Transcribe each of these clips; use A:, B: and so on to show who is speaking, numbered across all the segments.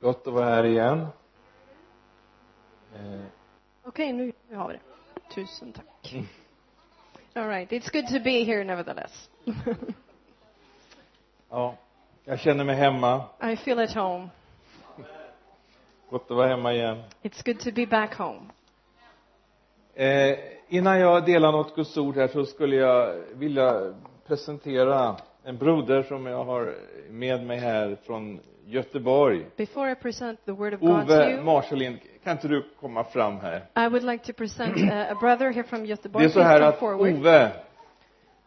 A: Gott att vara här igen. Eh,
B: Okay, nu, nu har vi det. Tusen tack.
A: Mm.
B: All right, it's good to be here nevertheless.
A: ja, jag känner mig hemma.
B: I feel at home.
A: Gott att vara hemma igen.
B: It's good to be back home.
A: Eh, innan jag delar något Guds ord här så skulle jag vilja presentera en broder som jag har med mig här från Göteborg.
B: Before I present the word of God to
A: Ove
B: you,
A: Marselin, kan inte du komma fram här?
B: I would like to present a, a brother here from
A: Det är
B: Göteborg. Please
A: så här
B: come
A: att
B: forward.
A: Ove,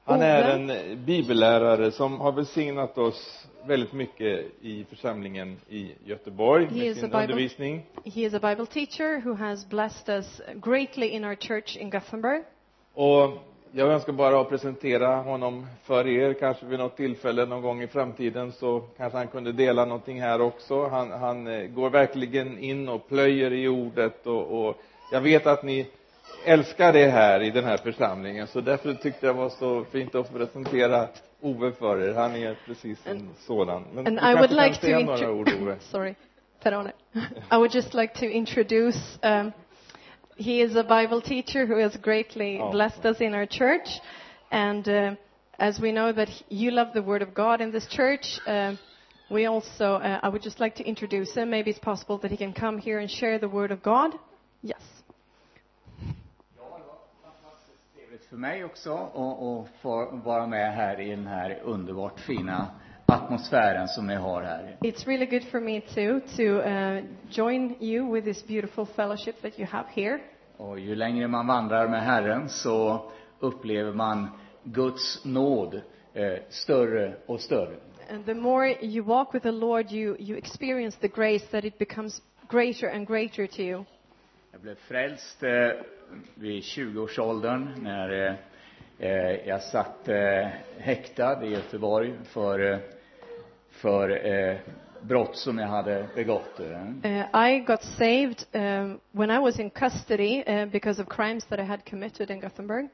A: han är
B: Ove.
A: en bibellärare som har välsignat oss väldigt mycket i församlingen i Göteborg
B: He
A: med
B: is a
A: sin
B: Bible-
A: undervisning.
B: He is a Bible teacher who has blessed us greatly in our church in Gothenburg.
A: Och jag önskar bara att presentera honom för er, kanske vid något tillfälle någon gång i framtiden så kanske han kunde dela någonting här också. Han, han eh, går verkligen in och plöjer i ordet och, och jag vet att ni älskar det här i den här församlingen så därför tyckte jag var så fint att presentera Ove för er. Han är precis en sådan. Men
B: And
A: du
B: I
A: kanske
B: would
A: kan
B: like to
A: säga några ord Ove.
B: intro- sorry, Perone. I would just like to introduce. Um, he is a Bible teacher who has greatly
A: Oh.
B: blessed us in our church, and uh, as we know that you love the Word of God in this church. um we also, uh, I would just like to introduce him. Maybe it's possible that he can come here and share the Word of God. Yes.
C: trevligt för mig också och, och få vara med här i den här underbart fina atmosfären som ni har här.
B: It's really good for me too to uh, join you with this beautiful fellowship that you have here.
C: Och ju längre man vandrar med Herren så upplever man Guds nåd eh, större och större.
B: And the more you walk with the Lord, you, you experience the grace that it becomes greater and greater to you.
C: Jag blev frälst eh, vid 20-årsåldern när eh, eh, jag satt eh, häktad i Göteborg för, eh, för eh, brott som jag hade begått. Eh.
B: Uh, I got saved um, when I was in custody uh, because of crimes that I had committed in Gothenburg.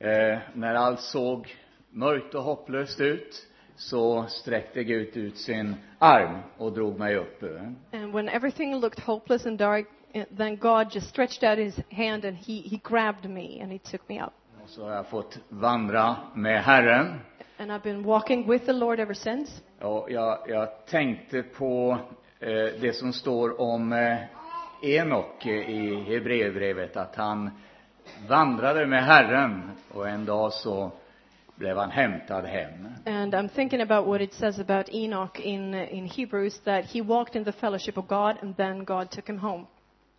C: Eh, när allt såg mörkt och hopplöst ut så sträckte Gud ut sin arm och drog mig upp. eh.
B: And when everything looked hopeless and dark, uh, then God just stretched out his hand and he, he grabbed me and he took me up.
C: Och så har jag fått vandra med Herren.
B: And I've been walking with the Lord ever since.
C: Och jag, jag tänkte på eh, det som står om eh, Enok eh, i Hebreerbrevet, att han vandrade med Herren och en dag så blev han hämtad hem.
B: And I'm thinking about what it says about Enoch in, uh, in Hebrews that he walked in the fellowship of God and then God took him home.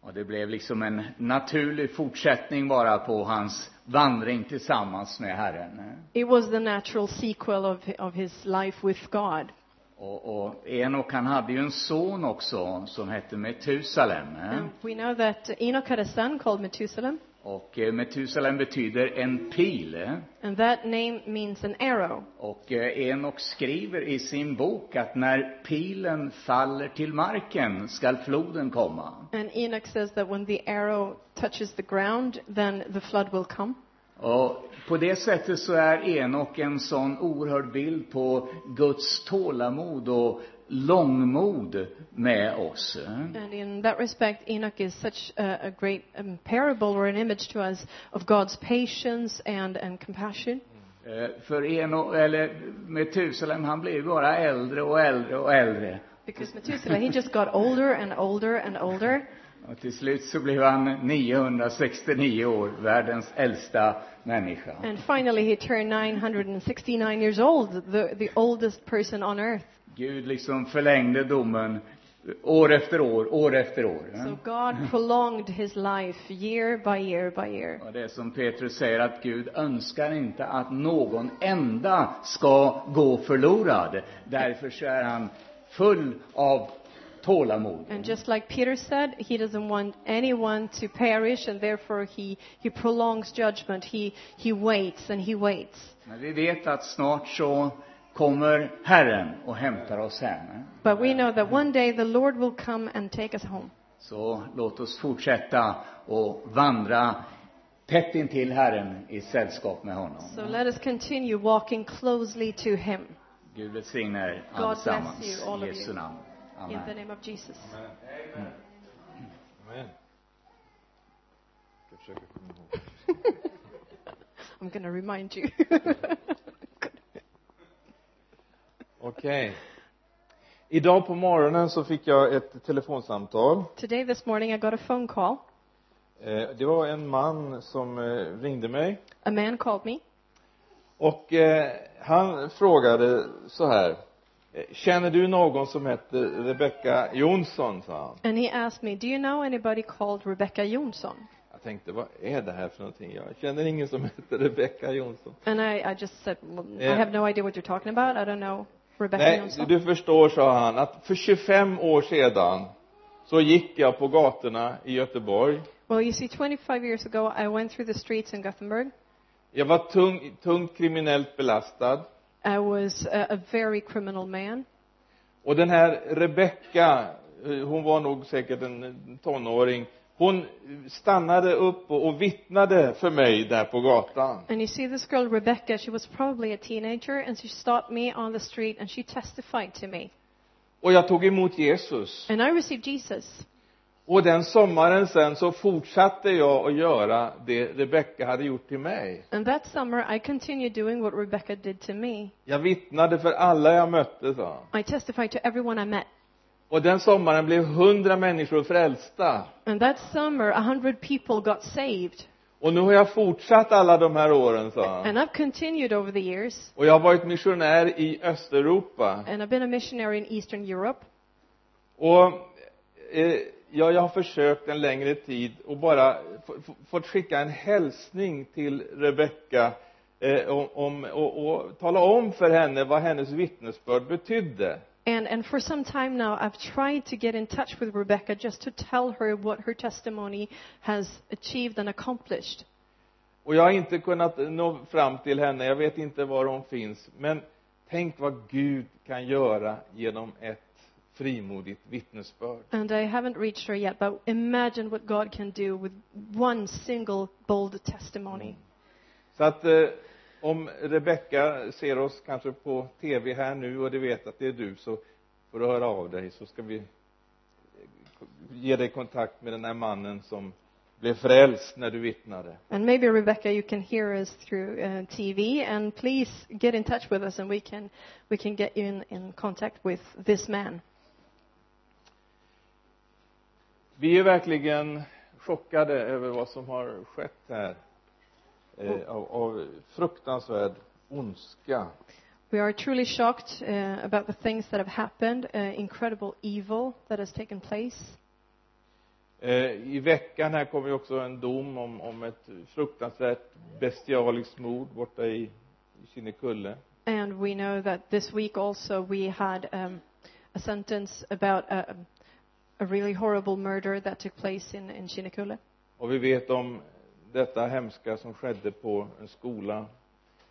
C: Och det blev liksom en naturlig fortsättning bara på hans vandring tillsammans med Herren.
B: It was the natural sequel of, of his life with God.
C: Och, och Enok han hade ju en son också som hette Metusalem.
B: And we know that Enoch had a son called Methuselah,
C: Och eh, Metusalem betyder en pil.
B: and that name means an arrow.
C: Och eh, Enok skriver i sin bok att när pilen faller till marken skall floden komma.
B: And Enoch says that when the arrow touches the ground, then the flood will come.
C: Och på det sättet så är Enok en sån oerhörd bild på Guds tålamod och långmod med oss.
B: And in that respect, Enoch is such a, a great um, parable or an image to us of God's patience and, and compassion.
C: Eh, För Enok, eller Metusalem, han blir bara äldre och äldre och äldre.
B: Because Methuselah, he just got older and older and older.
C: Och till slut så blev han 969 år, världens äldsta människa.
B: And finally, he turned 969 years old, the, the oldest person on earth.
C: Gud liksom förlängde domen år efter år, år efter år.
B: So God prolonged his life year by year by year.
C: Och det är som Petrus säger att Gud önskar inte att någon enda ska gå förlorad. Därför så är han full av tålamod.
B: And just like Peter said, he doesn't want anyone to perish and therefore he, he prolongs judgment. He, he waits and he waits.
C: Men vi vet att snart så kommer Herren och hämtar oss hem.
B: But we know that one day the Lord will come and take us home.
C: Så låt oss fortsätta och vandra tätt intill Herren i sällskap med honom.
B: So let us continue walking closely to him.
C: Gud välsigne er
B: God bless
C: allesammans.
B: you, all
C: I
B: of
C: Jesu
B: you.
C: namn.
B: in the
C: Amen.
B: name of Jesus.
A: Amen. Amen. Jag ska försöka komma ihåg.
B: I'm going to remind you.
A: Okej. Idag på morgonen så fick jag ett telefonsamtal.
B: Today, this morning, I got a phone call.
A: Eh, Det var en man som eh, ringde mig
B: A man called me
A: och eh, han frågade så här. eh, Känner du någon som heter Rebecka Jonsson? sa han.
B: and he asked me, Do you know anybody called Rebecca Jonsson?
A: Jag tänkte, vad är det här för någonting? Jag känner ingen som heter Rebecka Jonsson.
B: And I, I just said, well,
A: Yeah.
B: I have no idea what you're talking about. I don't know Rebecca
A: Nej,
B: Jonsson.
A: du förstår, sa han, att för 25 år sedan så gick jag på gatorna i Göteborg.
B: Well, you see, 25 years ago, I went through the streets in Gothenburg.
A: Jag var tung, tungt kriminellt belastad.
B: I was a, a very criminal man.
A: Och den här Rebecka, eh, hon var nog säkert en tonåring, hon stannade upp och, och vittnade för mig där på gatan.
B: And you see, this girl, Rebecca, she was probably a teenager, and she stopped me on the street and she testified to me.
A: Och jag tog emot Jesus.
B: And I received Jesus.
A: Och den sommaren sen så fortsatte jag att göra det Rebecka hade gjort till mig.
B: And that summer, I continued doing what Rebecca did to me.
A: Jag vittnade för alla jag mötte, sa han.
B: I testified to everyone I met.
A: Och den sommaren blev hundra människor frälsta.
B: And that summer, a hundred people got saved.
A: Och nu har jag fortsatt alla de här åren, sa han.
B: And I've continued over the years.
A: Och jag har varit missionär i Östeuropa.
B: And I've been a missionary in Eastern Europe.
A: Och eh, ja, jag har försökt en längre tid och bara f- f- fått skicka en hälsning till Rebecka eh, om, om, och, och tala om för henne vad hennes vittnesbörd betydde.
B: And, and for some time now, I've tried to get in touch with Rebecca just to tell her what her testimony has achieved and accomplished.
A: Och jag har inte kunnat nå fram till henne, jag vet inte var hon finns, men tänk vad Gud kan göra genom ett frimodigt vittnesbörd.
B: And I haven't reached her yet, but imagine what God can do with one single bold testimony.
A: Mm. Så att eh, om Rebecka ser oss kanske på tv här nu och du vet att det är du så får du höra av dig så ska vi eh, ge dig kontakt med den här mannen som blev frälst när du vittnade.
B: And maybe, Rebecca, you can hear us through uh, TV, and please get in touch with us, and we can, we can get you in, in contact with this man.
A: Vi är verkligen chockade över vad som har skett här eh, av, av fruktansvärd ondska.
B: We are truly shocked uh, about the things that have happened, uh, incredible evil that has taken place.
A: Eh, I veckan här kom ju också en dom om, om ett fruktansvärt bestialiskt mord borta i, i Kinnekulle.
B: And we know that this week also we had um, a sentence about a, a really horrible murder that took place in, in Kinnekulle.
A: och vi vet om detta hemska som skedde på en skola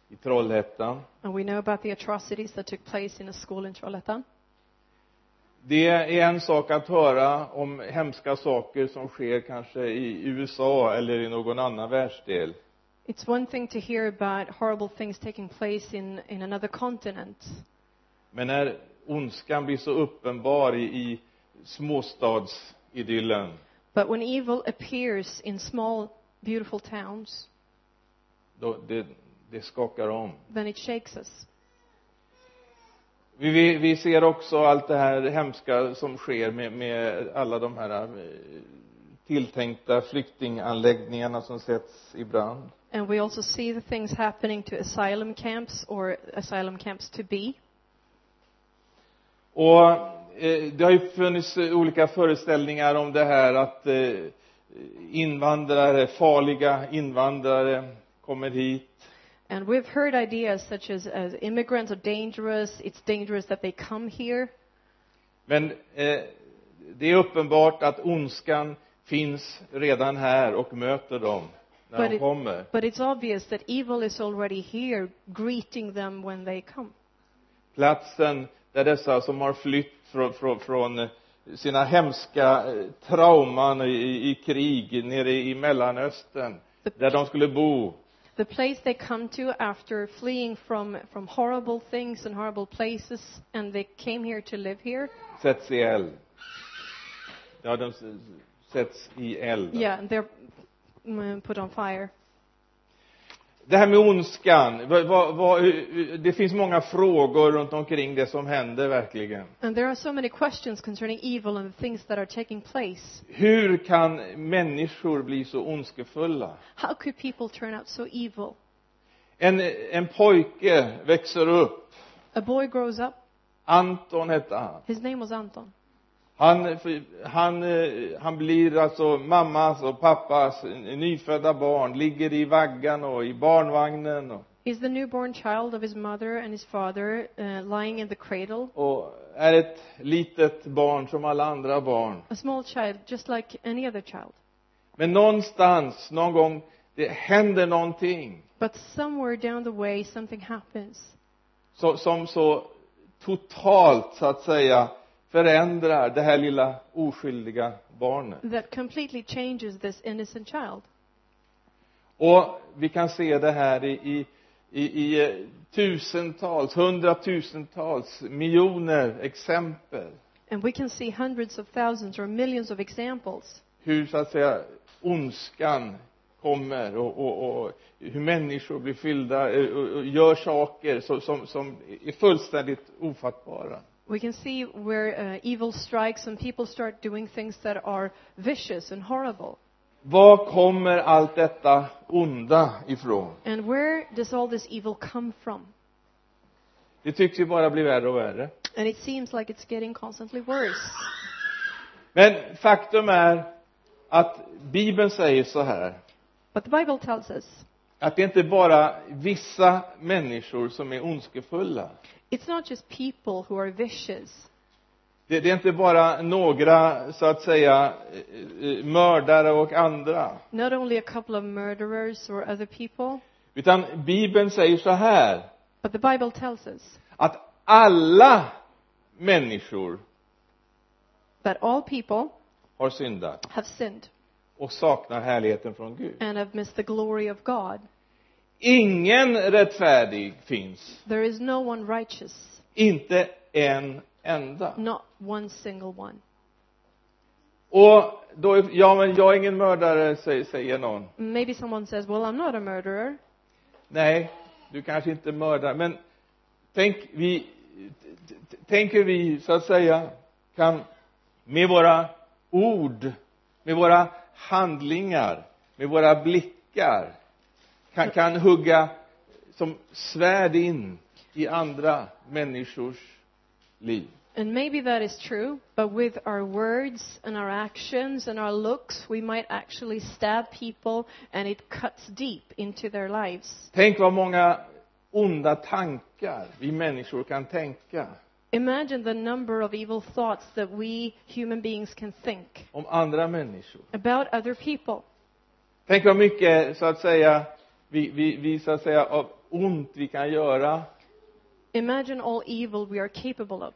A: i Trollhättan
B: And we know about the atrocities that took place in a school in Trollhättan.
A: det är en sak att höra om hemska saker som sker kanske i USA eller i någon annan världsdel
B: It's one thing to hear about horrible things taking place in, in another continent,
A: men när ondskan blir så uppenbar i, i småstadsidyllen
B: but when evil appears in small, beautiful towns,
A: då det, det skakar om
B: then it shakes us.
A: vi, vi, vi ser också allt det här hemska som sker med, med alla de här eh, tilltänkta flyktinganläggningarna som sätts i brand
B: And we also see the things happening to asylum camps or asylum camps to be.
A: och eh, det har ju funnits eh, olika föreställningar om det här att eh, invandrare, farliga invandrare kommer hit
B: And we've heard ideas such as, as immigrants are dangerous, it's dangerous that they come here.
A: men eh, det är uppenbart att ondskan finns redan här och möter dem när
B: But
A: de
B: it-
A: kommer
B: But it's obvious that evil is already here, greeting them when they come.
A: platsen där dessa som har flytt från, från, från sina hemska eh, trauman i, i krig nere i mellanöstern där de skulle bo
B: the place they come to after fleeing from, from horrible things and horrible places, and they came here to live here.
A: Sätts i eld. Ja, de s- s- sätts i eld.
B: Yeah, and they're mm, put on fire.
A: Det här med ondskan, vad, vad, vad, hur- hur- det finns många frågor runt omkring det som händer verkligen.
B: And there are so many questions concerning evil and the things that are taking place.
A: Hur kan människor bli så ondskefulla?
B: How could people turn out so evil?
A: En, en pojke växer upp.
B: A boy grows up.
A: Anton hette han.
B: His name was Anton.
A: Han, han, eh, han blir alltså mammas och pappas nyfödda barn, ligger i vaggan och i barnvagnen och,
B: He's the newborn child of his mother and his father, uh, lying in the cradle.
A: och är ett litet barn som alla andra barn.
B: A small child, just like any other child.
A: Men någonstans, någon gång, det händer någonting
B: But somewhere down the way, something happens
A: som, som så totalt, så att säga, förändrar det här lilla oskyldiga barnet.
B: that completely changes this innocent child.
A: Och vi kan se det här i, i, i, i eh, tusentals, hundratusentals, miljoner exempel.
B: And we can see hundreds of thousands or millions of examples
A: Hur, så att säga, ondskan kommer och, och, och hur människor blir fyllda eh, och, och gör saker som, som, som är fullständigt ofattbara.
B: We can see where uh, evil strikes and people start doing things that are vicious and horrible.
A: Var kommer allt detta onda ifrån?
B: And where does all this evil come from?
A: Det tycks ju bara bli värre och värre.
B: And it seems like it's getting constantly worse.
A: Men faktum är att Bibeln säger så här
B: But the Bible tells us
A: att det inte bara vissa människor som är ondskefulla.
B: it's not just people who are vicious.
A: Det, det är inte bara några, så att säga, eh, eh, mördare och andra.
B: Not only a couple of murderers or other people,
A: Utan Bibeln säger så här,
B: but the Bible tells us
A: att alla människor
B: that all people
A: har syndat
B: have sinned
A: och saknar härligheten från Gud.
B: and have missed the glory of God.
A: Ingen rättfärdig finns,
B: There is no one righteous,
A: inte en enda.
B: not one single one.
A: Och då, är- ja men jag är ingen mördare, säger, säger någon.
B: Maybe someone says, Well, I'm not a murderer.
A: Nej, du kanske inte mördar, men tänk vi, t- t- t- tänk hur vi så att säga kan med våra ord, med våra handlingar, med våra blickar kan, kan hugga som svärd in i andra människors liv.
B: And maybe that is true, but with our words and our actions and our looks, we might actually stab people and it cuts deep into their lives.
A: Tänk vad många onda tankar vi människor kan tänka
B: Imagine the number of evil thoughts that we human beings can think
A: om andra människor.
B: about other people.
A: Tänk vad mycket, så att säga, vi, vi, vi så att säga, av ont vi kan göra,
B: Imagine all evil we are capable of.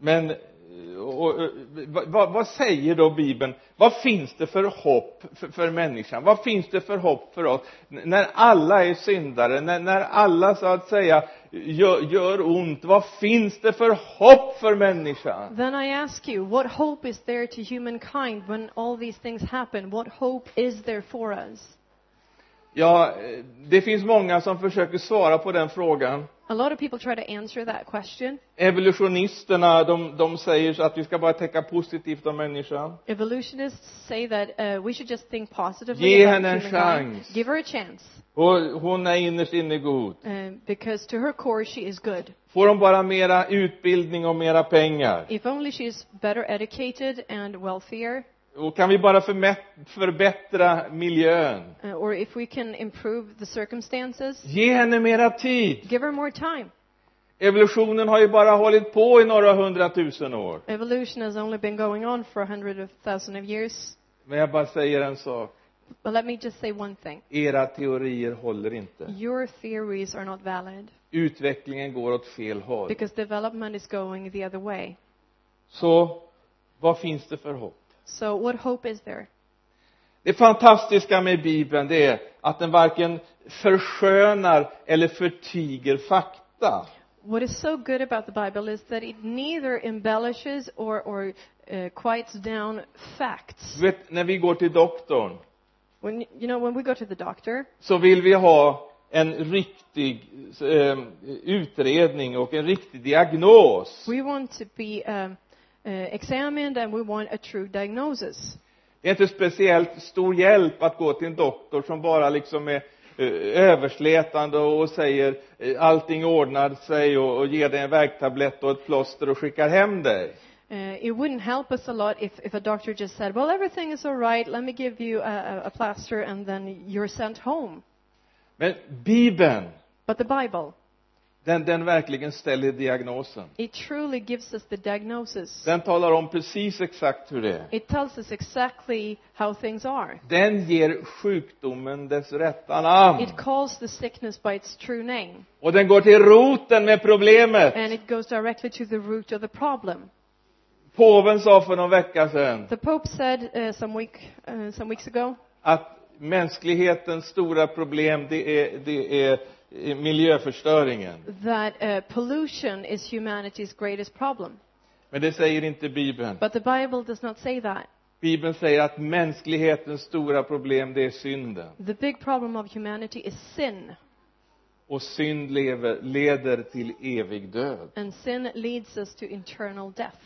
A: men eh, och, och, eh, vad, vad- vad säger då Bibeln? Vad finns det för hopp för, för människan? Vad finns det för hopp för oss? N- När alla är syndare, när, när alla så att säga gör, gör ont, vad finns det för hopp för människan?
B: Then I ask you, what hope is there to humankind when all these things happen? What hope is there for us?
A: Ja, eh, det finns många som försöker svara på den frågan.
B: A lot of people try to answer that question.
A: Evolutionisterna, de, de säger så att vi ska bara tänka positivt om människan.
B: Evolutionists say that uh, we should just think positively
A: Ge
B: about
A: henne en
B: humankind.
A: chans.
B: Give her a chance,
A: Och hon är innerst inne god.
B: uh, because to her core she is good.
A: Får hon bara mera utbildning och mera pengar?
B: If only she is better educated and wealthier,
A: Och kan vi bara förmä- förbättra miljön?
B: uh, or if we can improve the circumstances,
A: Ge henne mera tid.
B: give her more time.
A: Evolutionen har ju bara hållit på i några hundratusen år.
B: Evolution has only been going on for a hundred of thousand of years.
A: Men jag bara säger en sak.
B: But let me just say one thing.
A: Era teorier håller inte.
B: Your theories are not valid
A: Utvecklingen går åt fel håll.
B: because development is going the other way.
A: Så vad finns det för hopp?
B: So what hope is there?
A: Det fantastiska med Bibeln, det är att den varken förskönar eller förtiger fakta.
B: What is so good about the Bible is that it neither embellishes or, or uh, quiets down facts.
A: Du vet, när vi går till doktorn
B: When, you know, when we go to the doctor,
A: så vill vi ha en riktig eh, utredning och en riktig diagnos.
B: we want to be um, uh, examined and we want a true diagnosis.
A: Det är inte speciellt stor hjälp att gå till en doktor som bara liksom är eh, överslätande och säger eh, allting ordnar sig och, och ger dig en värktablett och ett plåster och skickar hem dig.
B: Uh, it wouldn't help us a lot if, if a doctor just said, well, everything is all right, let me give you a, a, a plaster and then you're sent home.
A: Men Bibeln,
B: But the Bible,
A: den, den verkligen ställer diagnosen.
B: it truly gives us the diagnosis.
A: Den talar om precis exakt hur det är.
B: It tells us exactly how things are.
A: Den ger sjukdomen dess rätta namn.
B: It calls the sickness by its true name
A: Och den går till roten med problemet.
B: and it goes directly to the root of the problem.
A: Påven sa för någon vecka sedan
B: The Pope said uh, some, week, uh, some weeks ago
A: att mänsklighetens stora problem det är, det är eh, miljöförstöringen.
B: that uh, pollution is humanity's greatest problem.
A: Men det säger inte Bibeln.
B: But the Bible does not say that.
A: Bibeln säger att mänsklighetens stora problem det är synden.
B: The big problem of humanity is sin,
A: Och synd lever, leder till evig död.
B: and sin leads us to eternal death.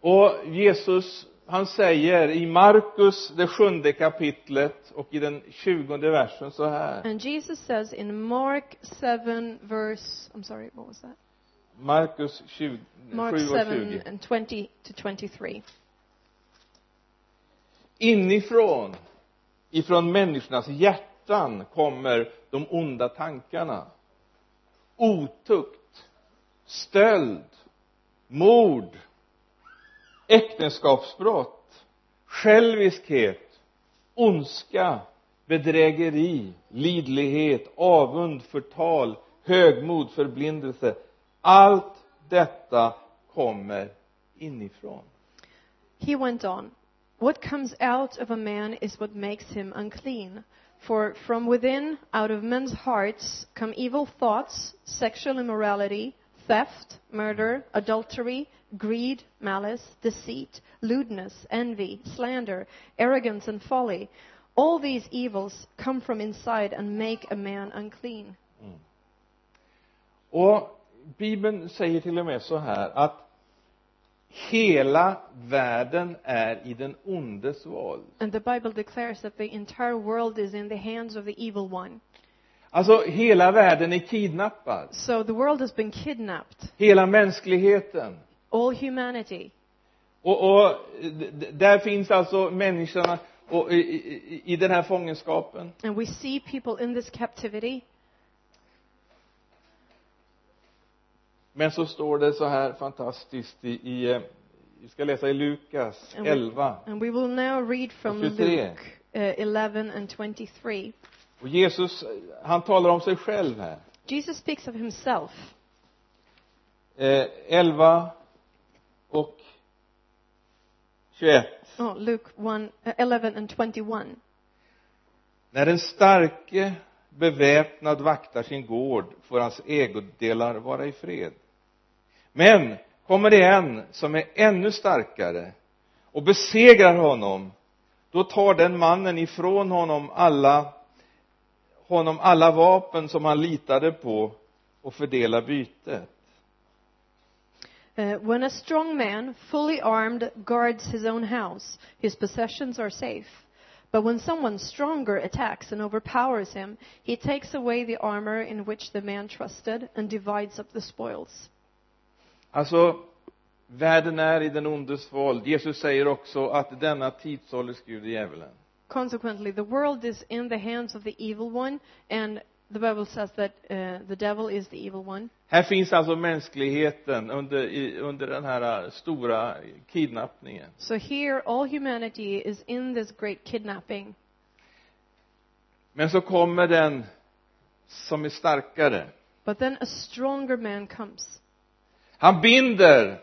A: Och Jesus, han säger i Markus, det sjunde kapitlet och i den tjugonde versen så här.
B: And Jesus says in Mark 7, verse, I'm sorry, what was that?
A: Markus 20,
B: Mark
A: 7 och
B: 7
A: 20.
B: and 20 to 23.
A: Inifrån, ifrån människornas hjärtan kommer de onda tankarna. Otukt, stöld, mord, äktenskapsbrott, själviskhet, ondska, bedrägeri, lidlighet, avund, förtal, högmod, förblindelse. Allt detta kommer inifrån.
B: He went on, What comes out of a man is what makes him unclean. For from within, out of men's hearts, come evil thoughts, sexual immorality, theft, murder, adultery, greed, malice, deceit, lewdness, envy, slander, arrogance, and folly. All these evils come from inside and make a man unclean.
A: Mm. Och Bibeln säger till och med så här att hela världen är i den ondes våld.
B: And the Bible declares that the entire world is in the hands of the evil one.
A: Alltså hela världen är kidnappad.
B: So the world has been kidnapped.
A: Hela mänskligheten.
B: all humanity.
A: Och, och d- d- där finns alltså människorna och, i, i, i den här fångenskapen.
B: And we see people in this captivity,
A: Men så står det så här fantastiskt i, i eh, vi ska läsa i Lukas
B: Mm.
A: 11.
B: and we will now read from
A: Kapitel tre.
B: Luke uh, 11 and 23.
A: Och Jesus, han talar om sig själv här.
B: Jesus speaks of himself,
A: Eh, 11 och 21.
B: oh, Luke 1, uh, 11 and 21.
A: När den starke beväpnad vaktar sin gård får hans ägodelar vara i fred. Men kommer det en som är ännu starkare och besegrar honom, då tar den mannen ifrån honom alla, honom alla vapen som han litade på och fördelar bytet.
B: Uh, when a strong man, fully armed, guards his own house, his possessions are safe. But when someone stronger attacks and overpowers him, he takes away the armor in which the man trusted and divides up the spoils.
A: Alltså, världen är i den ondes våld. Jesus säger också att denna tidsålders Gud är djävulen.
B: Consequently, the world is in the hands of the evil one, and the Bible says that uh, the devil is the evil one.
A: Här finns alltså mänskligheten under, i, under den här eh, stora kidnappningen.
B: So here, all humanity is in this great kidnapping.
A: Men så kommer den som är starkare.
B: But then a stronger man comes.
A: Han binder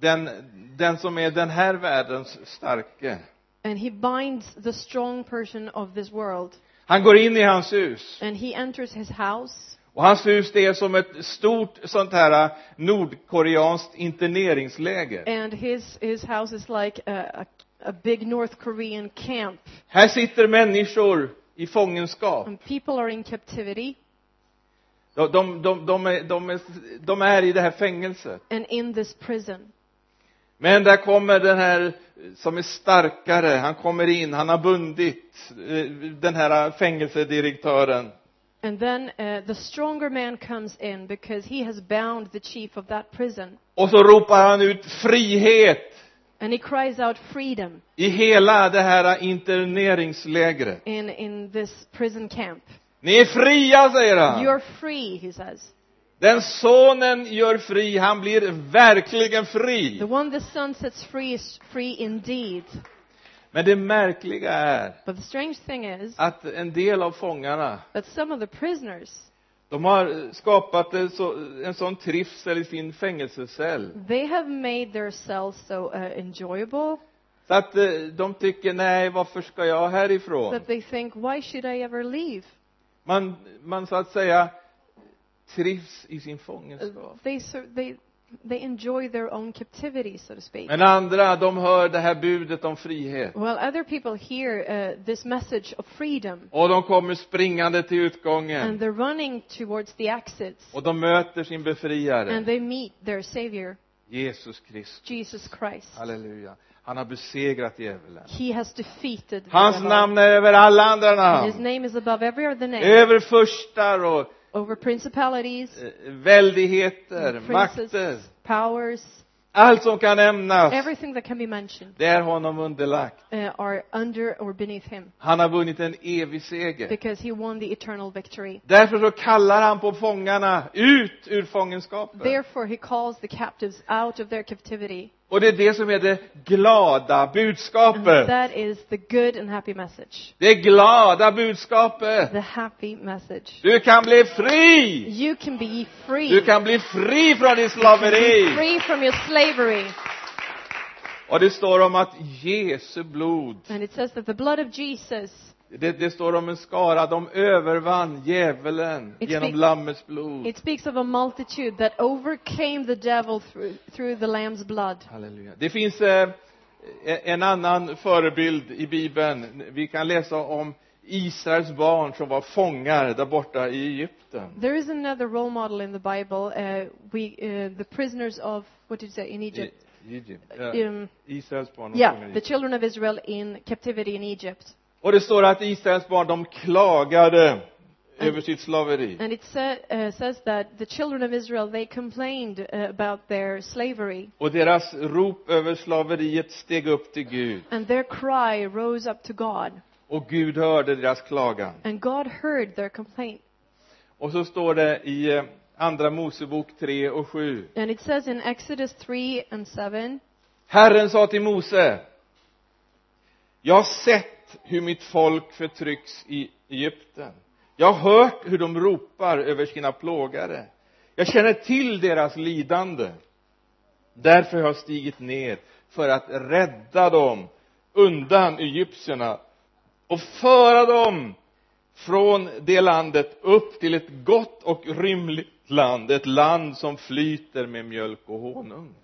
A: den, den som är den här världens starke.
B: and he binds the strong person of this world.
A: Han går in i hans hus.
B: And he enters his house,
A: Och hans hus det är som ett stort sånt här eh, nordkoreanskt interneringsläger.
B: and his, his house is like a, a, a big North Korean camp.
A: Här sitter människor i fångenskap.
B: And people are in captivity,
A: De, de, de, de, är, de, är, de är i det här fängelset.
B: and in this prison.
A: Men där kommer den här som är starkare, han kommer in, han har bundit eh, den här fängelsedirektören.
B: And then uh, the stronger man comes in because he has bound the chief of that prison.
A: Och så ropar han ut frihet
B: And he cries out freedom
A: i hela det här interneringslägret.
B: in, in this prison camp.
A: Ni är fria, säger han.
B: You're free, he says.
A: Den sonen gör fri, han blir verkligen
B: The
A: fri.
B: one the sun sets free is free indeed.
A: Men det märkliga är
B: But the strange thing is
A: att en del av fångarna,
B: that some of the prisoners,
A: de har skapat en, så, en sån trivsel i sin fängelsecell.
B: they have made their cells so uh, enjoyable
A: Så att eh, de tycker, nej, varför ska jag härifrån?
B: that they think, why should I ever leave?
A: Man, man så att säga trivs i sin
B: Uh,
A: fångenskap.
B: They, so, they, they enjoy their own captivity, so to speak.
A: Men andra, de hör det här budet om frihet.
B: Well, other people hear uh, this message of freedom
A: Och de kommer springande till
B: and
A: utgången.
B: they're running towards the exits
A: Och de möter sin
B: and
A: befriare,
B: they meet their savior,
A: Jesus Kristus.
B: Jesus Christ.
A: Halleluja. Han har besegrat djävulen.
B: He has defeated the
A: Hans
B: devil.
A: namn är över alla andra
B: And His
A: namn.
B: name is above every other name,
A: Över furstar och
B: over principalities,
A: eh, väldigheter, makter.
B: princes, powers,
A: Allt som kan nämnas,
B: everything that can be mentioned
A: det är honom underlagt.
B: uh, are under or beneath Him
A: Han har vunnit en evig seger.
B: because He won the eternal victory.
A: Därför så kallar han på fångarna ut ur fångenskapen.
B: Therefore, He calls the captives out of their captivity.
A: Och det är det som är det glada
B: And
A: budskapet.
B: that is the good and happy message.
A: Det glada budskapet.
B: The happy message.
A: Du kan bli fri!
B: You can be free.
A: Du kan bli fri från din
B: be
A: slaveri!
B: free from your slavery.
A: Och det står om att Jesu blod,
B: And it says that the blood of Jesus,
A: det, det står om en skara, de övervann djävulen
B: It's
A: genom
B: be-
A: Lammets blod.
B: it speaks of a multitude that overcame the devil through, through the Lamb's blood.
A: Halleluja. Det finns eh, en annan förebild i Bibeln. Vi kan läsa om Israels barn som var fångar där borta i Egypten.
B: There is another role model in the Bible. Uh, we, uh, the prisoners of, what did you say, in
A: I,
B: Egypt?
A: Egypt. Ja,
B: Um,
A: Israels barn var fångar
B: yeah,
A: i
B: the
A: Egypten.
B: children of Israel in captivity in Egypt.
A: Och det står att Israels barn, de klagade över sitt slaveri.
B: And it sa- uh, says that the children of Israel, they complained uh, about their slavery.
A: Och deras rop över slaveriet steg upp till Gud.
B: And their cry rose up to God.
A: Och Gud hörde deras klagan.
B: And God heard their complaint.
A: Och så står det i eh, Andra Mosebok 3 och 7.
B: And it says in Exodus 3 and 7,
A: Herren sa till Mose. Jag har sett hur mitt folk förtrycks i Egypten. Jag har hört hur de ropar över sina plågare. Jag känner till deras lidande. Därför har jag stigit ner för att rädda dem undan egyptierna och föra dem från det landet upp till ett gott och rymligt land, ett land som flyter med mjölk och honung.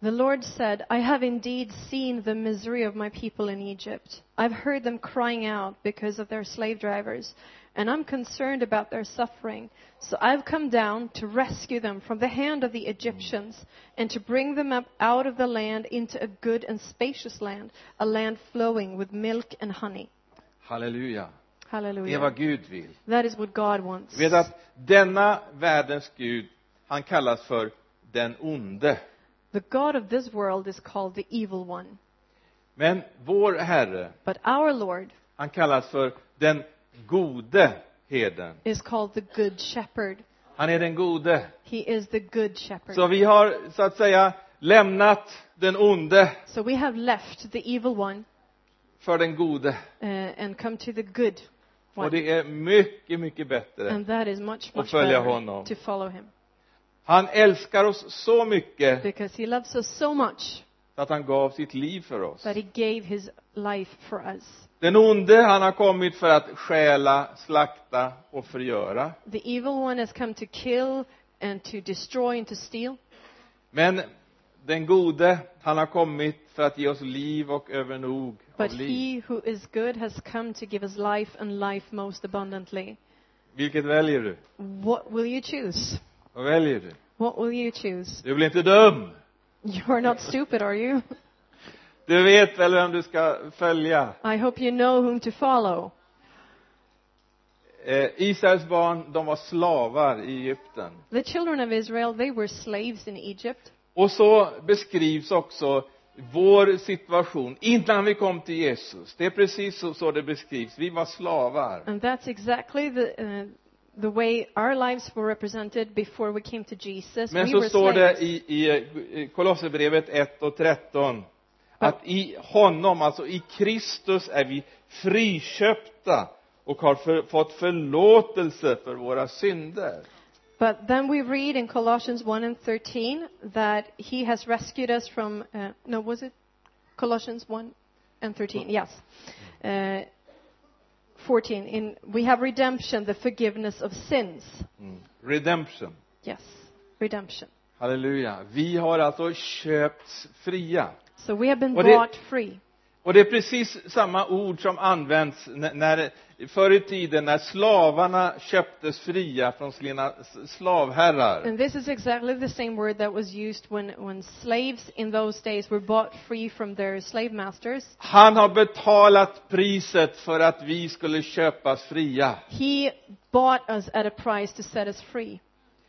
B: The Lord said, I have indeed seen the misery of my people in Egypt. I've heard them crying out because of their slave drivers, and I'm concerned about their suffering. So I've come down to rescue them from the hand of the Egyptians and to bring them up out of the land into a good and spacious land, a land flowing with milk and honey.
A: Halleluja. Det är
B: Hallelujah.
A: vad Gud vill.
B: That is what God wants.
A: Du vet att denna världens Gud, han kallas för den onde.
B: The God of this world is called the evil one,
A: Men vår Herre,
B: but our Lord
A: han kallas för den gode herden.
B: is called the good shepherd.
A: Han är den gode.
B: He is the good shepherd.
A: Så vi har så att säga lämnat den onde
B: So we have left the evil one
A: för den gode.
B: uh, and come to the good
A: Och
B: one.
A: det är mycket, mycket bättre.
B: And that is much,
A: Och
B: much
A: följa
B: better
A: honom.
B: to follow him.
A: Han älskar oss så mycket
B: Because he loves us so much
A: så att han gav sitt liv för oss.
B: that he gave his life for us.
A: Den onde, han har kommit för att stjäla, slakta och förgöra.
B: The evil one has come to kill and to destroy and to steal,
A: Men den gode, han har kommit för att ge oss liv och övernog av
B: but
A: liv.
B: he who is good has come to give us life and life most abundantly.
A: Vilket väljer du?
B: What will you choose?
A: Vad väljer du?
B: What will you choose?
A: Du blir inte dum.
B: You're not stupid, are you?
A: Du vet väl vem du ska följa?
B: I hope you know whom to follow.
A: Eh, Israels barn, de var slavar i Egypten.
B: The children of Israel, they were slaves in Egypt.
A: Och så beskrivs också vår situation innan vi kom till Jesus. Det är precis så, så det beskrivs. Vi var slavar.
B: And that's exactly the, uh, the way our lives were represented before we came to Jesus.
A: Men
B: we
A: så
B: were
A: står det
B: slaves.
A: i, i eh, Kolosserbrevet 1 och 13 att i honom, alltså i Kristus, är vi friköpta och har för, fått förlåtelse för våra synder.
B: But then we read in Colossians 1 and 13 that he has rescued us from, uh, no, was it Colossians 1 and 13? Yes. Uh, 14. In, we have redemption, the forgiveness of sins.
A: Mm. Redemption.
B: Yes, redemption.
A: Halleluja. Vi har alltså köpts fria.
B: So we have been
A: Och det-
B: bought free.
A: Och det är precis samma ord som används när, när förr i tiden när slavarna köptes fria från sina s- slavherrar.
B: And this is exactly the same word that was used when, when slaves in those days were bought free from their slave masters.
A: Han har betalat priset för att vi skulle köpas fria.
B: He bought us at a price to set us free.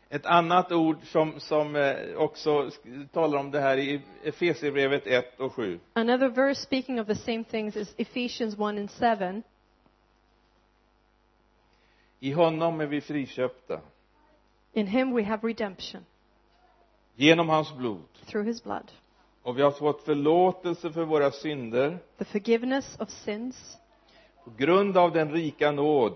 A: Ett annat ord som, som eh, också sk- talar om det här i Efesierbrevet 1 och 7.
B: Another verse speaking of the same things is Ephesians 1 and 7.
A: I honom är vi friköpta
B: In him we have redemption
A: genom hans blod
B: through his blood,
A: och vi har fått förlåtelse för våra synder
B: the forgiveness of sins
A: på grund av den rika nåd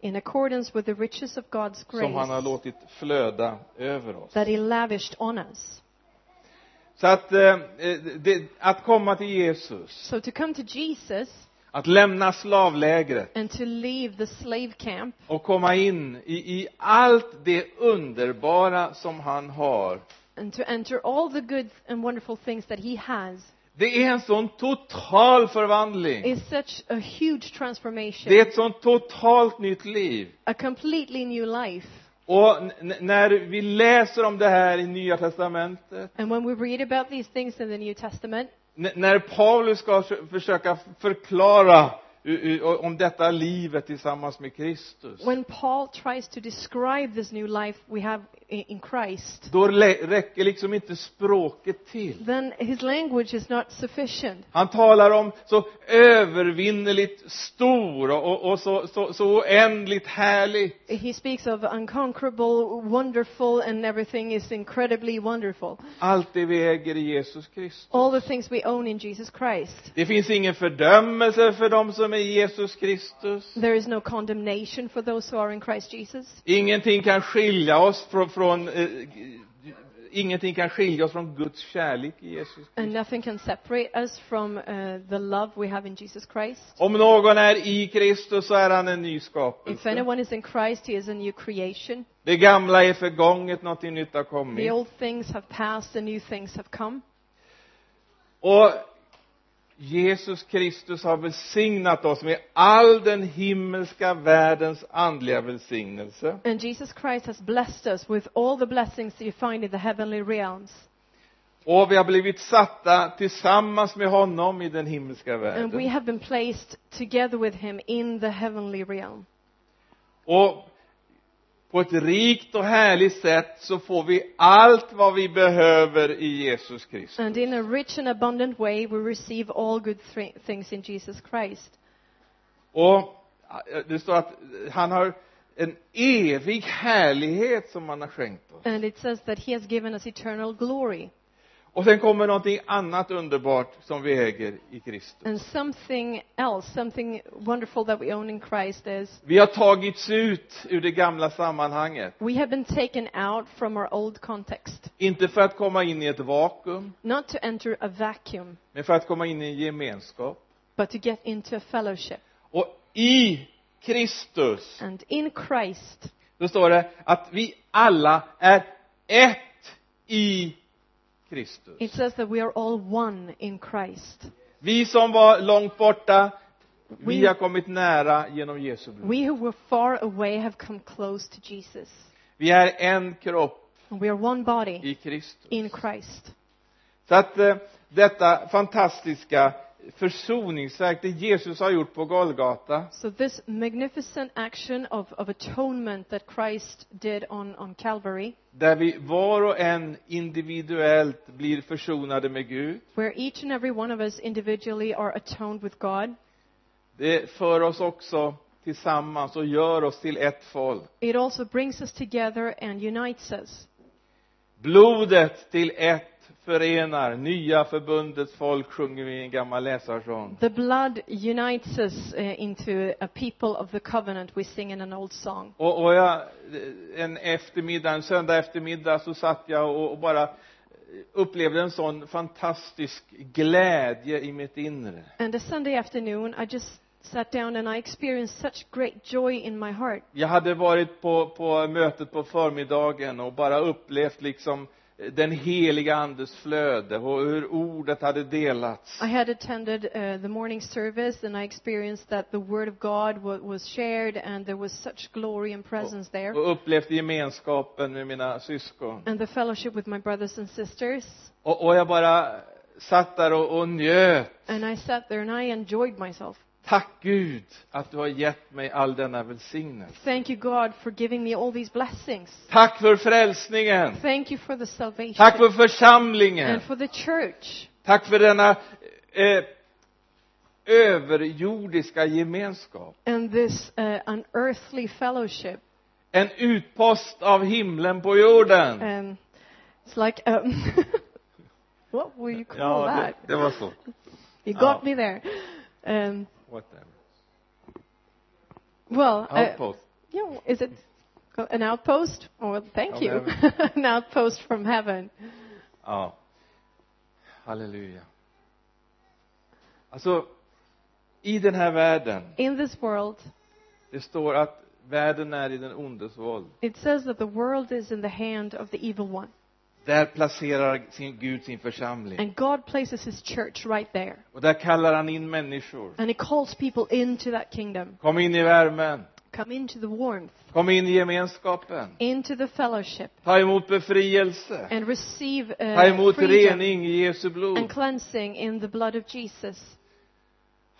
B: in accordance with the riches of God's
A: som han har
B: grace
A: låtit flöda över oss.
B: that he lavished on us.
A: Så att, eh, eh, det, att komma till Jesus,
B: So to come to Jesus
A: att lämna slavlägret
B: and to leave the slave camp
A: och komma in i, i allt det underbara som han har.
B: and to enter all the good and wonderful things that he has
A: Det är en sån total förvandling.
B: is such a huge transformation,
A: Det är ett sånt totalt nytt liv.
B: a completely new life.
A: Och n- n- när vi läser om det här i Nya Testamentet,
B: And when we read about these things in the New Testament,
A: n- när Paulus ska förs- försöka förklara u- u- om detta livet tillsammans med Kristus,
B: when Paul tries to describe this new life we have i- in Christ,
A: då lä- räcker liksom inte språket till.
B: then his language is not sufficient.
A: Han talar om så övervinneligt stor och, och, och så, så, så oändligt härlig.
B: He speaks of unconquerable, wonderful, and everything is incredibly wonderful.
A: Allt det vi äger i Jesus Kristus.
B: All the things we own in Jesus Christ.
A: Det finns ingen fördömelse för dem som är i Jesus Kristus.
B: There is no condemnation for those who are in Christ Jesus.
A: Ingenting kan skilja oss från, från eh, ingenting kan skilja oss från Guds kärlek i Jesus
B: And
A: Kristus.
B: nothing can separate us from uh, the love we have in Jesus Christ.
A: Om någon är i Kristus så är han en ny
B: If
A: skapelse.
B: anyone is in Christ, he is a new creation.
A: Det gamla är förgånget, någonting nytt har
B: The
A: kommit.
B: old things have passed, the new things have come.
A: Och Jesus Kristus har välsignat oss med all den himmelska världens andliga välsignelse.
B: And Jesus Christ has blessed us with all the blessings that you find in the heavenly realms.
A: Och vi har blivit satta tillsammans med honom i den himmelska
B: And we
A: världen.
B: have been placed together with him in the heavenly realm.
A: Och på ett rikt och härligt sätt så får vi allt vad vi behöver i Jesus Kristus.
B: And in a rich and abundant way, we receive all good thri- things in Jesus Christ.
A: Och eh, det står att han har en evig härlighet som han har skänkt oss.
B: And it says that he has given us eternal glory.
A: Och sen kommer någonting annat underbart som vi äger i Kristus.
B: And something else, something wonderful that we own in Christ is
A: Vi har tagits ut ur det gamla sammanhanget
B: we have been taken out from our old context.
A: Inte för att komma in i ett vakuum,
B: not to enter a vacuum,
A: men för att komma in i en gemenskap.
B: but to get into a fellowship.
A: Och i Kristus,
B: And in Christ,
A: då står det att vi alla är ett i Kristus.
B: it says that we are all one in Christ.
A: Vi som var långt borta, vi
B: We-
A: har kommit nära genom Jesu blod.
B: We who were far away have come close to Jesus.
A: Vi är en kropp
B: We are one body
A: i Kristus.
B: in Christ.
A: Så att eh, detta fantastiska försoningsverk, det Jesus har gjort på Golgata,
B: So this magnificent action of, of atonement that Christ did on, on Calvary,
A: där vi var och en individuellt blir försonade med Gud,
B: where each and every one of us individually are atoned with God,
A: det för oss också tillsammans och gör oss till ett folk.
B: it also brings us together and unites us.
A: Blodet till ett förenar, nya förbundets folk sjunger vi i en gammal läsarsång.
B: The blood unites us uh, into a people of the covenant, we sing in an old song.
A: Och, och jag, en eftermiddag, en söndag eftermiddag så satt jag och, och bara upplevde en sån fantastisk glädje i mitt inre.
B: And a Sunday afternoon, I just sat down and I experienced such great joy in my heart.
A: Jag hade varit på, på mötet på förmiddagen och bara upplevt liksom den heliga andes flöde och hur ordet hade delats.
B: I had attended uh, the morning service and I experienced that the word of God wa- was shared and there was such glory and presence there
A: Och upplevt gemenskapen med mina syskon.
B: and the fellowship with my brothers and sisters.
A: Och, och jag bara satt där och, och njöt.
B: And I sat there and I enjoyed myself.
A: Tack Gud att du har gett mig all denna välsignelse.
B: Thank you, God, for giving me all these blessings.
A: Tack för frälsningen.
B: Thank you for the salvation
A: Tack för församlingen.
B: and for the church.
A: Tack för denna eh, överjordiska gemenskap.
B: and this uh, unearthly fellowship.
A: En utpost av himlen på jorden.
B: Um, it's like, um, what will you call
A: det,
B: that?
A: det var så.
B: You got
A: Oh.
B: me there. Um,
A: Whatever.
B: well, uh,
A: Outpost.
B: you know, is it an outpost? Oh, well, thank
A: From
B: you. an outpost from heaven.
A: Ja. Halleluja. Alltså, i den här världen,
B: In this world,
A: det står att världen är i den ondes våld.
B: it says that the world is in the hand of the evil one,
A: Där placerar sin Gud sin församling.
B: and God places His church right there,
A: Och där kallar han in människor.
B: and He calls people into that kingdom.
A: Kom in i värmen.
B: Come into the warmth,
A: Kom in i gemenskapen.
B: into the fellowship,
A: Ta emot befrielse.
B: and receive
A: Ta
B: uh,
A: emot
B: freedom.
A: rening i Jesu
B: and
A: blod.
B: cleansing in the blood of Jesus.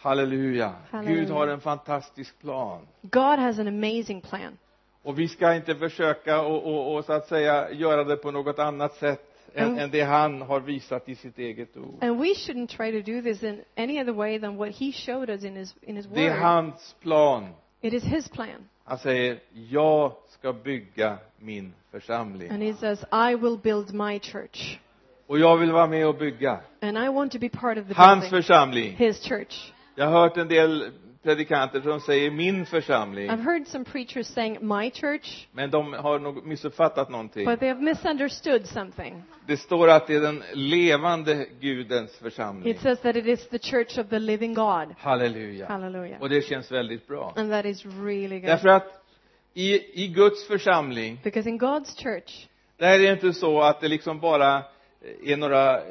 A: Halleluja.
B: Halleluja.
A: Gud har en fantastisk plan.
B: God has an amazing plan.
A: Och vi ska inte försöka och, och, och så att säga göra det på något annat sätt än,
B: Mm.
A: än det han har visat i sitt eget ord.
B: And we shouldn't try to do this in any other way than what he showed us in his, in his
A: Det är
B: word.
A: hans plan.
B: It is his plan.
A: Han säger, jag ska bygga min församling.
B: And he says, I will build my church.
A: Och jag vill vara med och bygga
B: And I want to be part of the
A: hans
B: building,
A: församling.
B: his church.
A: Jag har hört en del predikanter som säger min församling.
B: I've heard some preachers saying my church,
A: Men de har nog missuppfattat någonting.
B: but they have misunderstood something.
A: Det står att det är den levande Gudens
B: It
A: församling.
B: says that it is the church of the living God.
A: Halleluja.
B: Hallelujah.
A: Och det känns väldigt bra.
B: And that is really good.
A: Därför att i, i Guds församling,
B: Because in God's church,
A: där är det inte så att det liksom bara är några, eh,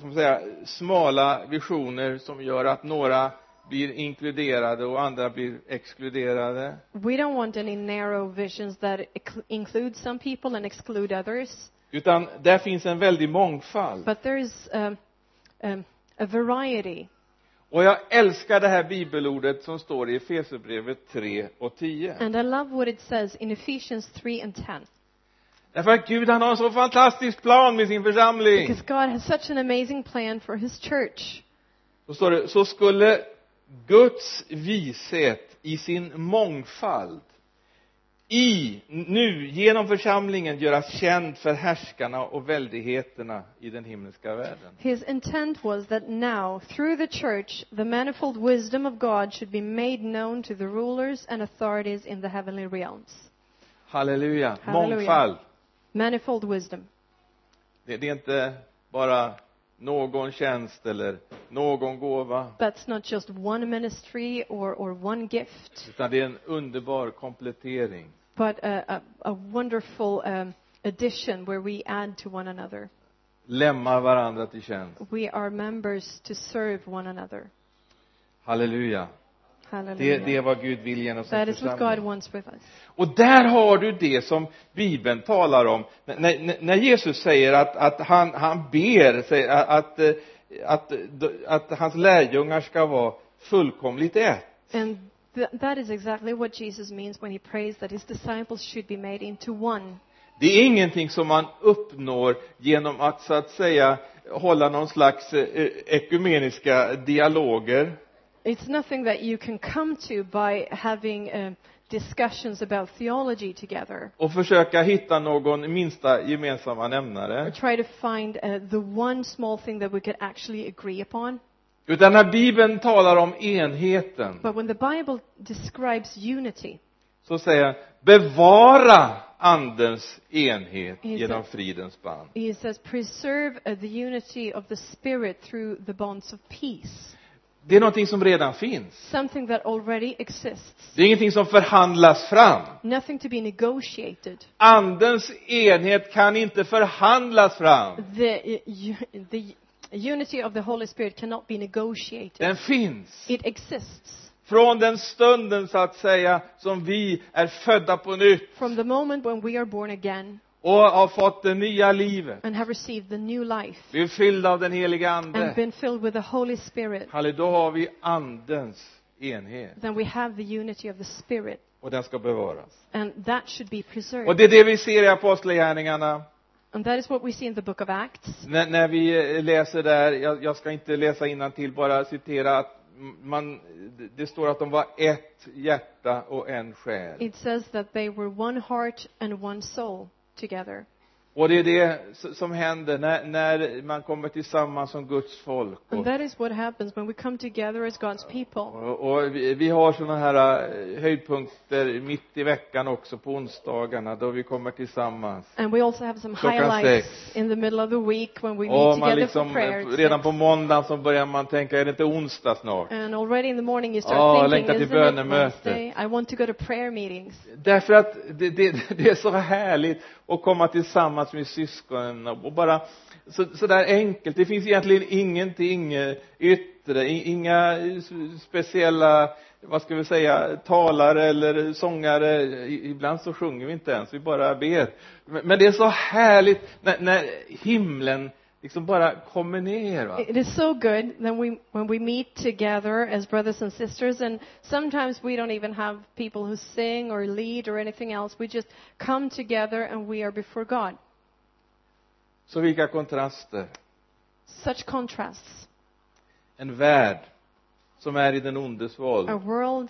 A: som att säga, smala visioner som gör att några blir inkluderade och andra blir exkluderade.
B: We don't want any narrow visions that ec- include some people and exclude others,
A: Utan där finns en väldig mångfald.
B: but there is um, um, a variety.
A: Och jag älskar det här bibelordet som står i Efesierbrevet 3 och 10.
B: And I love what it says in Ephesians 3 and 10.
A: Därför att Gud han har en så fantastisk plan med sin församling.
B: Because God has such an amazing plan for His church.
A: Då står det, så skulle Guds vishet i sin mångfald i, nu, genom församlingen göras känd för härskarna och väldigheterna i den himmelska världen.
B: His intent was that now, through the church, the manifold wisdom of God should be made known to the rulers and authorities in the heavenly realms.
A: Halleluja.
B: Halleluja.
A: Mångfald.
B: Manifold wisdom.
A: det, det är inte bara någon tjänst eller någon gåva
B: That's not just one ministry or, or one gift,
A: utan det är en underbar komplettering
B: but a, a, a wonderful um, addition where we add to one another.
A: lämnar varandra till tjänst
B: We are members to serve one another.
A: halleluja det,
B: Hallelujah.
A: det är vad Gud vill genom sin
B: that is what God
A: församling
B: wants with us.
A: Och där har du det som Bibeln talar om. När, när, när Jesus säger att, att han, han ber säger att, att, eh, att, att hans lärjungar ska vara fullkomligt ett.
B: And th- that is exactly what Jesus means when he prays that his disciples should be made into one.
A: Det är ingenting som man uppnår genom att så att säga hålla någon slags eh, ekumeniska dialoger.
B: It's nothing that you can come to by having um, discussions about theology together
A: och försöka hitta någon minsta gemensamma nämnare.
B: or try to find uh, the one small thing that we could actually agree upon.
A: Utan när Bibeln talar om enheten
B: But when the Bible describes unity,
A: så säger han bevara andens enhet genom fridens band.
B: he says, preserve uh, the unity of the Spirit through the bonds of peace,
A: Det är någonting som redan finns.
B: something that already exists,
A: Det är ingenting som förhandlas fram.
B: nothing to be negotiated.
A: Andens enhet kan inte förhandlas fram.
B: The, uh, u- the unity of the Holy Spirit cannot be negotiated,
A: Den finns.
B: it exists.
A: Från den stunden så att säga som vi är födda på nytt
B: From the moment when we are born again
A: och har fått det nya livet.
B: and have received the new life
A: Vi är fyllda av den heliga
B: and
A: Ande.
B: been filled with the Holy Spirit,
A: Halleluja, då har vi andens enhet
B: then we have the unity of the Spirit,
A: och den ska bevaras.
B: and that should be
A: Och
B: preserved.
A: det är det vi ser i Apostlagärningarna.
B: And that is what we see in the book of Acts.
A: När, när vi eh, läser där, jag, jag ska inte läsa till bara citera att man, det- det står att de var ett hjärta och en själ.
B: It says that they were one heart and one soul together.
A: Och det är det s- som händer när, när man kommer tillsammans som Guds folk.
B: And
A: Och,
B: that is what happens when we come together as God's people.
A: och, och vi, vi har sådana här eh, höjdpunkter mitt i veckan också på onsdagarna då vi kommer tillsammans.
B: And we also have some
A: Klockan
B: highlights
A: sex.
B: in the middle of the week when we meet
A: Och man
B: together for
A: liksom,
B: prayer.
A: Oh, eh,
B: at
A: redan
B: six.
A: på måndagen så börjar man tänka, är det inte onsdag snart?
B: And already in the morning you
A: Åh,
B: start
A: längtar
B: thinking,
A: till
B: isn't it
A: bönemötet."
B: Wednesday? I want to go to prayer meetings.
A: Därför att det, det, det är så härligt att komma tillsammans med syskonen och bara så, så där enkelt. Det finns egentligen ingenting eh, yttre, i- inga eh, s- speciella, vad ska vi säga, talare eller sångare. I- Ibland så sjunger vi inte ens, vi bara ber. Men, men det är så härligt när, när himlen liksom bara kommer ner. Va?
B: It is so good that we, when we meet together as brothers and sisters, and sometimes we don't even have people who sing or lead or anything else. We just come together and we are before God.
A: Så vilka kontraster.
B: Such contrasts.
A: En värld som är i den ondes våld,
B: A world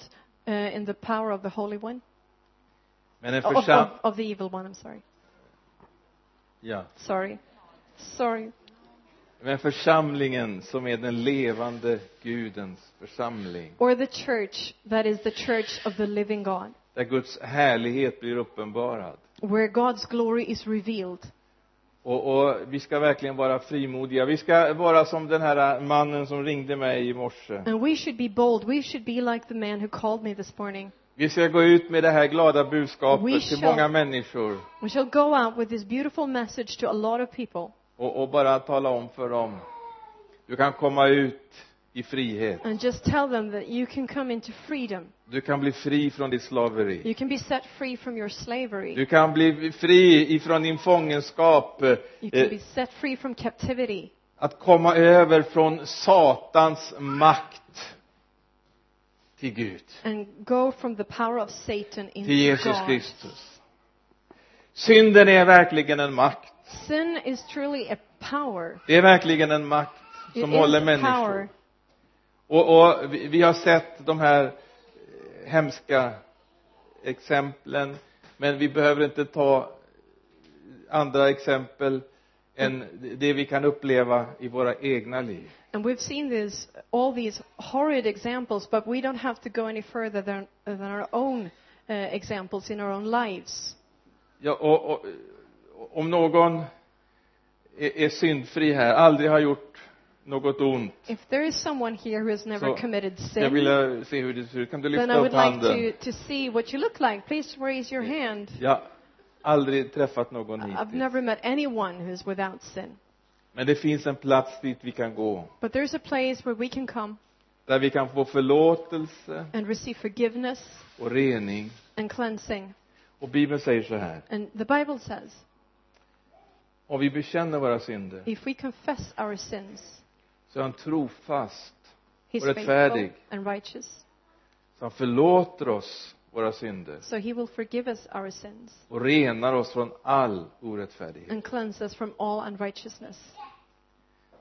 B: uh, in the power of the Holy One,
A: men en
B: of, of,
A: församling,
B: of the evil one, I'm sorry.
A: ja.
B: Sorry. Sorry.
A: Men församlingen som är den levande Gudens församling,
B: Or the church that is the church of the living God,
A: där Guds härlighet blir uppenbarad.
B: where God's glory is revealed.
A: Och, och vi ska verkligen vara frimodiga. Vi ska vara som den här mannen som ringde mig i morse.
B: And we should be bold. We should be like the man who called me this morning.
A: Vi ska gå ut med det här glada
B: We
A: budskapet till
B: shall-
A: många människor
B: We shall go out with this beautiful message to a lot of people
A: och, och bara tala om för dem. Du kan komma ut i frihet.
B: and just tell them that you can come into freedom.
A: Du kan bli fri från ditt slaveri.
B: You can be set free from your slavery.
A: Du kan bli fri ifrån din fångenskap.
B: You
A: eh,
B: can be set free from captivity.
A: att komma över från Satans makt till Gud,
B: And go from the power of Satan
A: till
B: into
A: Jesus
B: God.
A: Kristus. Synden är verkligen en makt.
B: Sin is truly a power.
A: Det är verkligen en makt
B: It
A: som
B: is
A: håller
B: a power.
A: människor. Och, och vi, vi har sett de här eh, hemska exemplen, men vi behöver inte ta andra exempel än det vi kan uppleva i våra egna liv.
B: And we've seen this, all these horrid examples, but we don't have to go any further than, than our own uh, examples in our own lives.
A: Ja, och, och, om någon är, är syndfri här, aldrig har gjort något ont,
B: If there is someone here who has never
A: So,
B: committed
A: jag
B: sin,
A: vill eh, se hur det ser ut. Kan du
B: then
A: lyfta
B: I
A: upp
B: would like
A: handen?
B: to, to see what you look like. Please raise your hand.
A: Jag har aldrig träffat någon
B: I've
A: hittills.
B: never met anyone who's without sin.
A: Men det finns en plats dit vi kan gå,
B: But there's a place where we can come
A: där vi kan få förlåtelse
B: and receive forgiveness
A: och rening.
B: and cleansing.
A: Och Bibeln säger så här,
B: And the Bible says,
A: om vi bekänner våra synder
B: if we confess our sins,
A: så är han trofast, Vår
B: He's faithful
A: rättfärdig.
B: and righteous.
A: så han förlåter oss våra synder
B: So He will forgive us our sins
A: och renar oss från all orättfärdighet.
B: and cleanse us from all unrighteousness.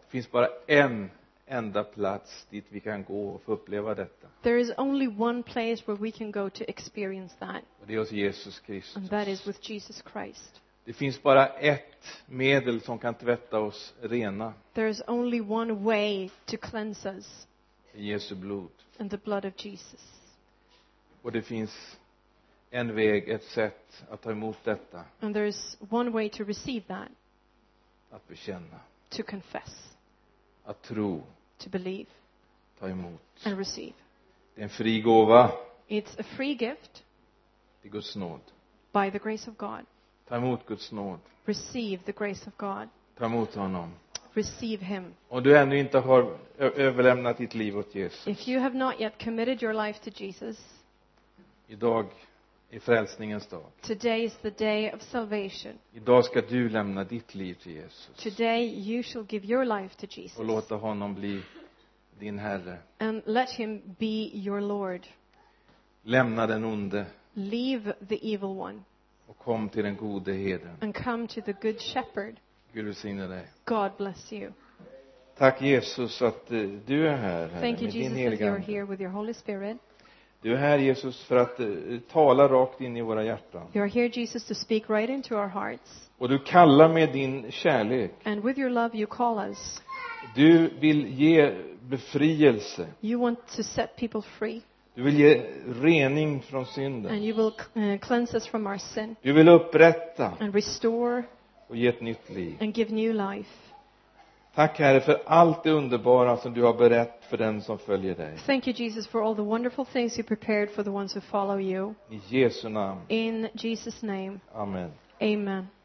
A: Det finns bara en enda plats dit vi kan gå och få uppleva detta.
B: There is only one place where we can go to experience that,
A: Och det är hos Jesus Kristus.
B: and that is with Jesus Christ.
A: Det finns bara ett medel som kan tvätta oss rena,
B: There is only one way to cleanse us,
A: i Jesu blod.
B: and the blood of Jesus.
A: Och det finns en väg, ett sätt att ta emot detta,
B: And there is one way to receive that,
A: att bekänna,
B: to confess,
A: att tro,
B: to believe,
A: ta emot.
B: and receive.
A: Det är en fri gåva
B: It's a free gift
A: till Guds nåd.
B: by the grace of God.
A: Ta emot Guds nåd.
B: Receive the grace of God.
A: Ta emot honom.
B: Receive Him.
A: Om du ännu inte har ö- överlämnat ditt liv åt Jesus,
B: If you have not yet committed your life to Jesus,
A: idag är frälsningens dag.
B: today is the day of salvation.
A: Idag ska du lämna ditt liv till Jesus
B: Today you shall give your life to Jesus
A: och låta honom bli din Herre.
B: and let Him be your Lord.
A: Lämna den onde
B: Leave the evil one
A: och kom till den gode herden.
B: and come to the Good Shepherd.
A: Gud välsigne dig.
B: God bless you.
A: Tack Jesus att eh, du är här, Herre,
B: Thank you,
A: med din
B: Jesus, that you
A: heliga
B: are
A: Ande.
B: here with your Holy Spirit.
A: Du är här Jesus för att eh, tala rakt in i våra hjärtan.
B: You are here, Jesus, to speak right into our hearts.
A: Och du kallar med din kärlek.
B: And with your love, you call us.
A: Du vill ge befrielse.
B: You want to set people free,
A: Du vill ge rening från
B: and
A: synden.
B: you will uh, cleanse us from our sin
A: Du vill upprätta
B: and restore
A: och ge ett nytt liv.
B: and give new life.
A: Tack Herre för allt det underbara som du har berett för den som följer dig.
B: Thank you, Jesus, for all the wonderful things you prepared for the ones who follow you.
A: I Jesu namn.
B: In Jesus' name,
A: Amen.
B: amen.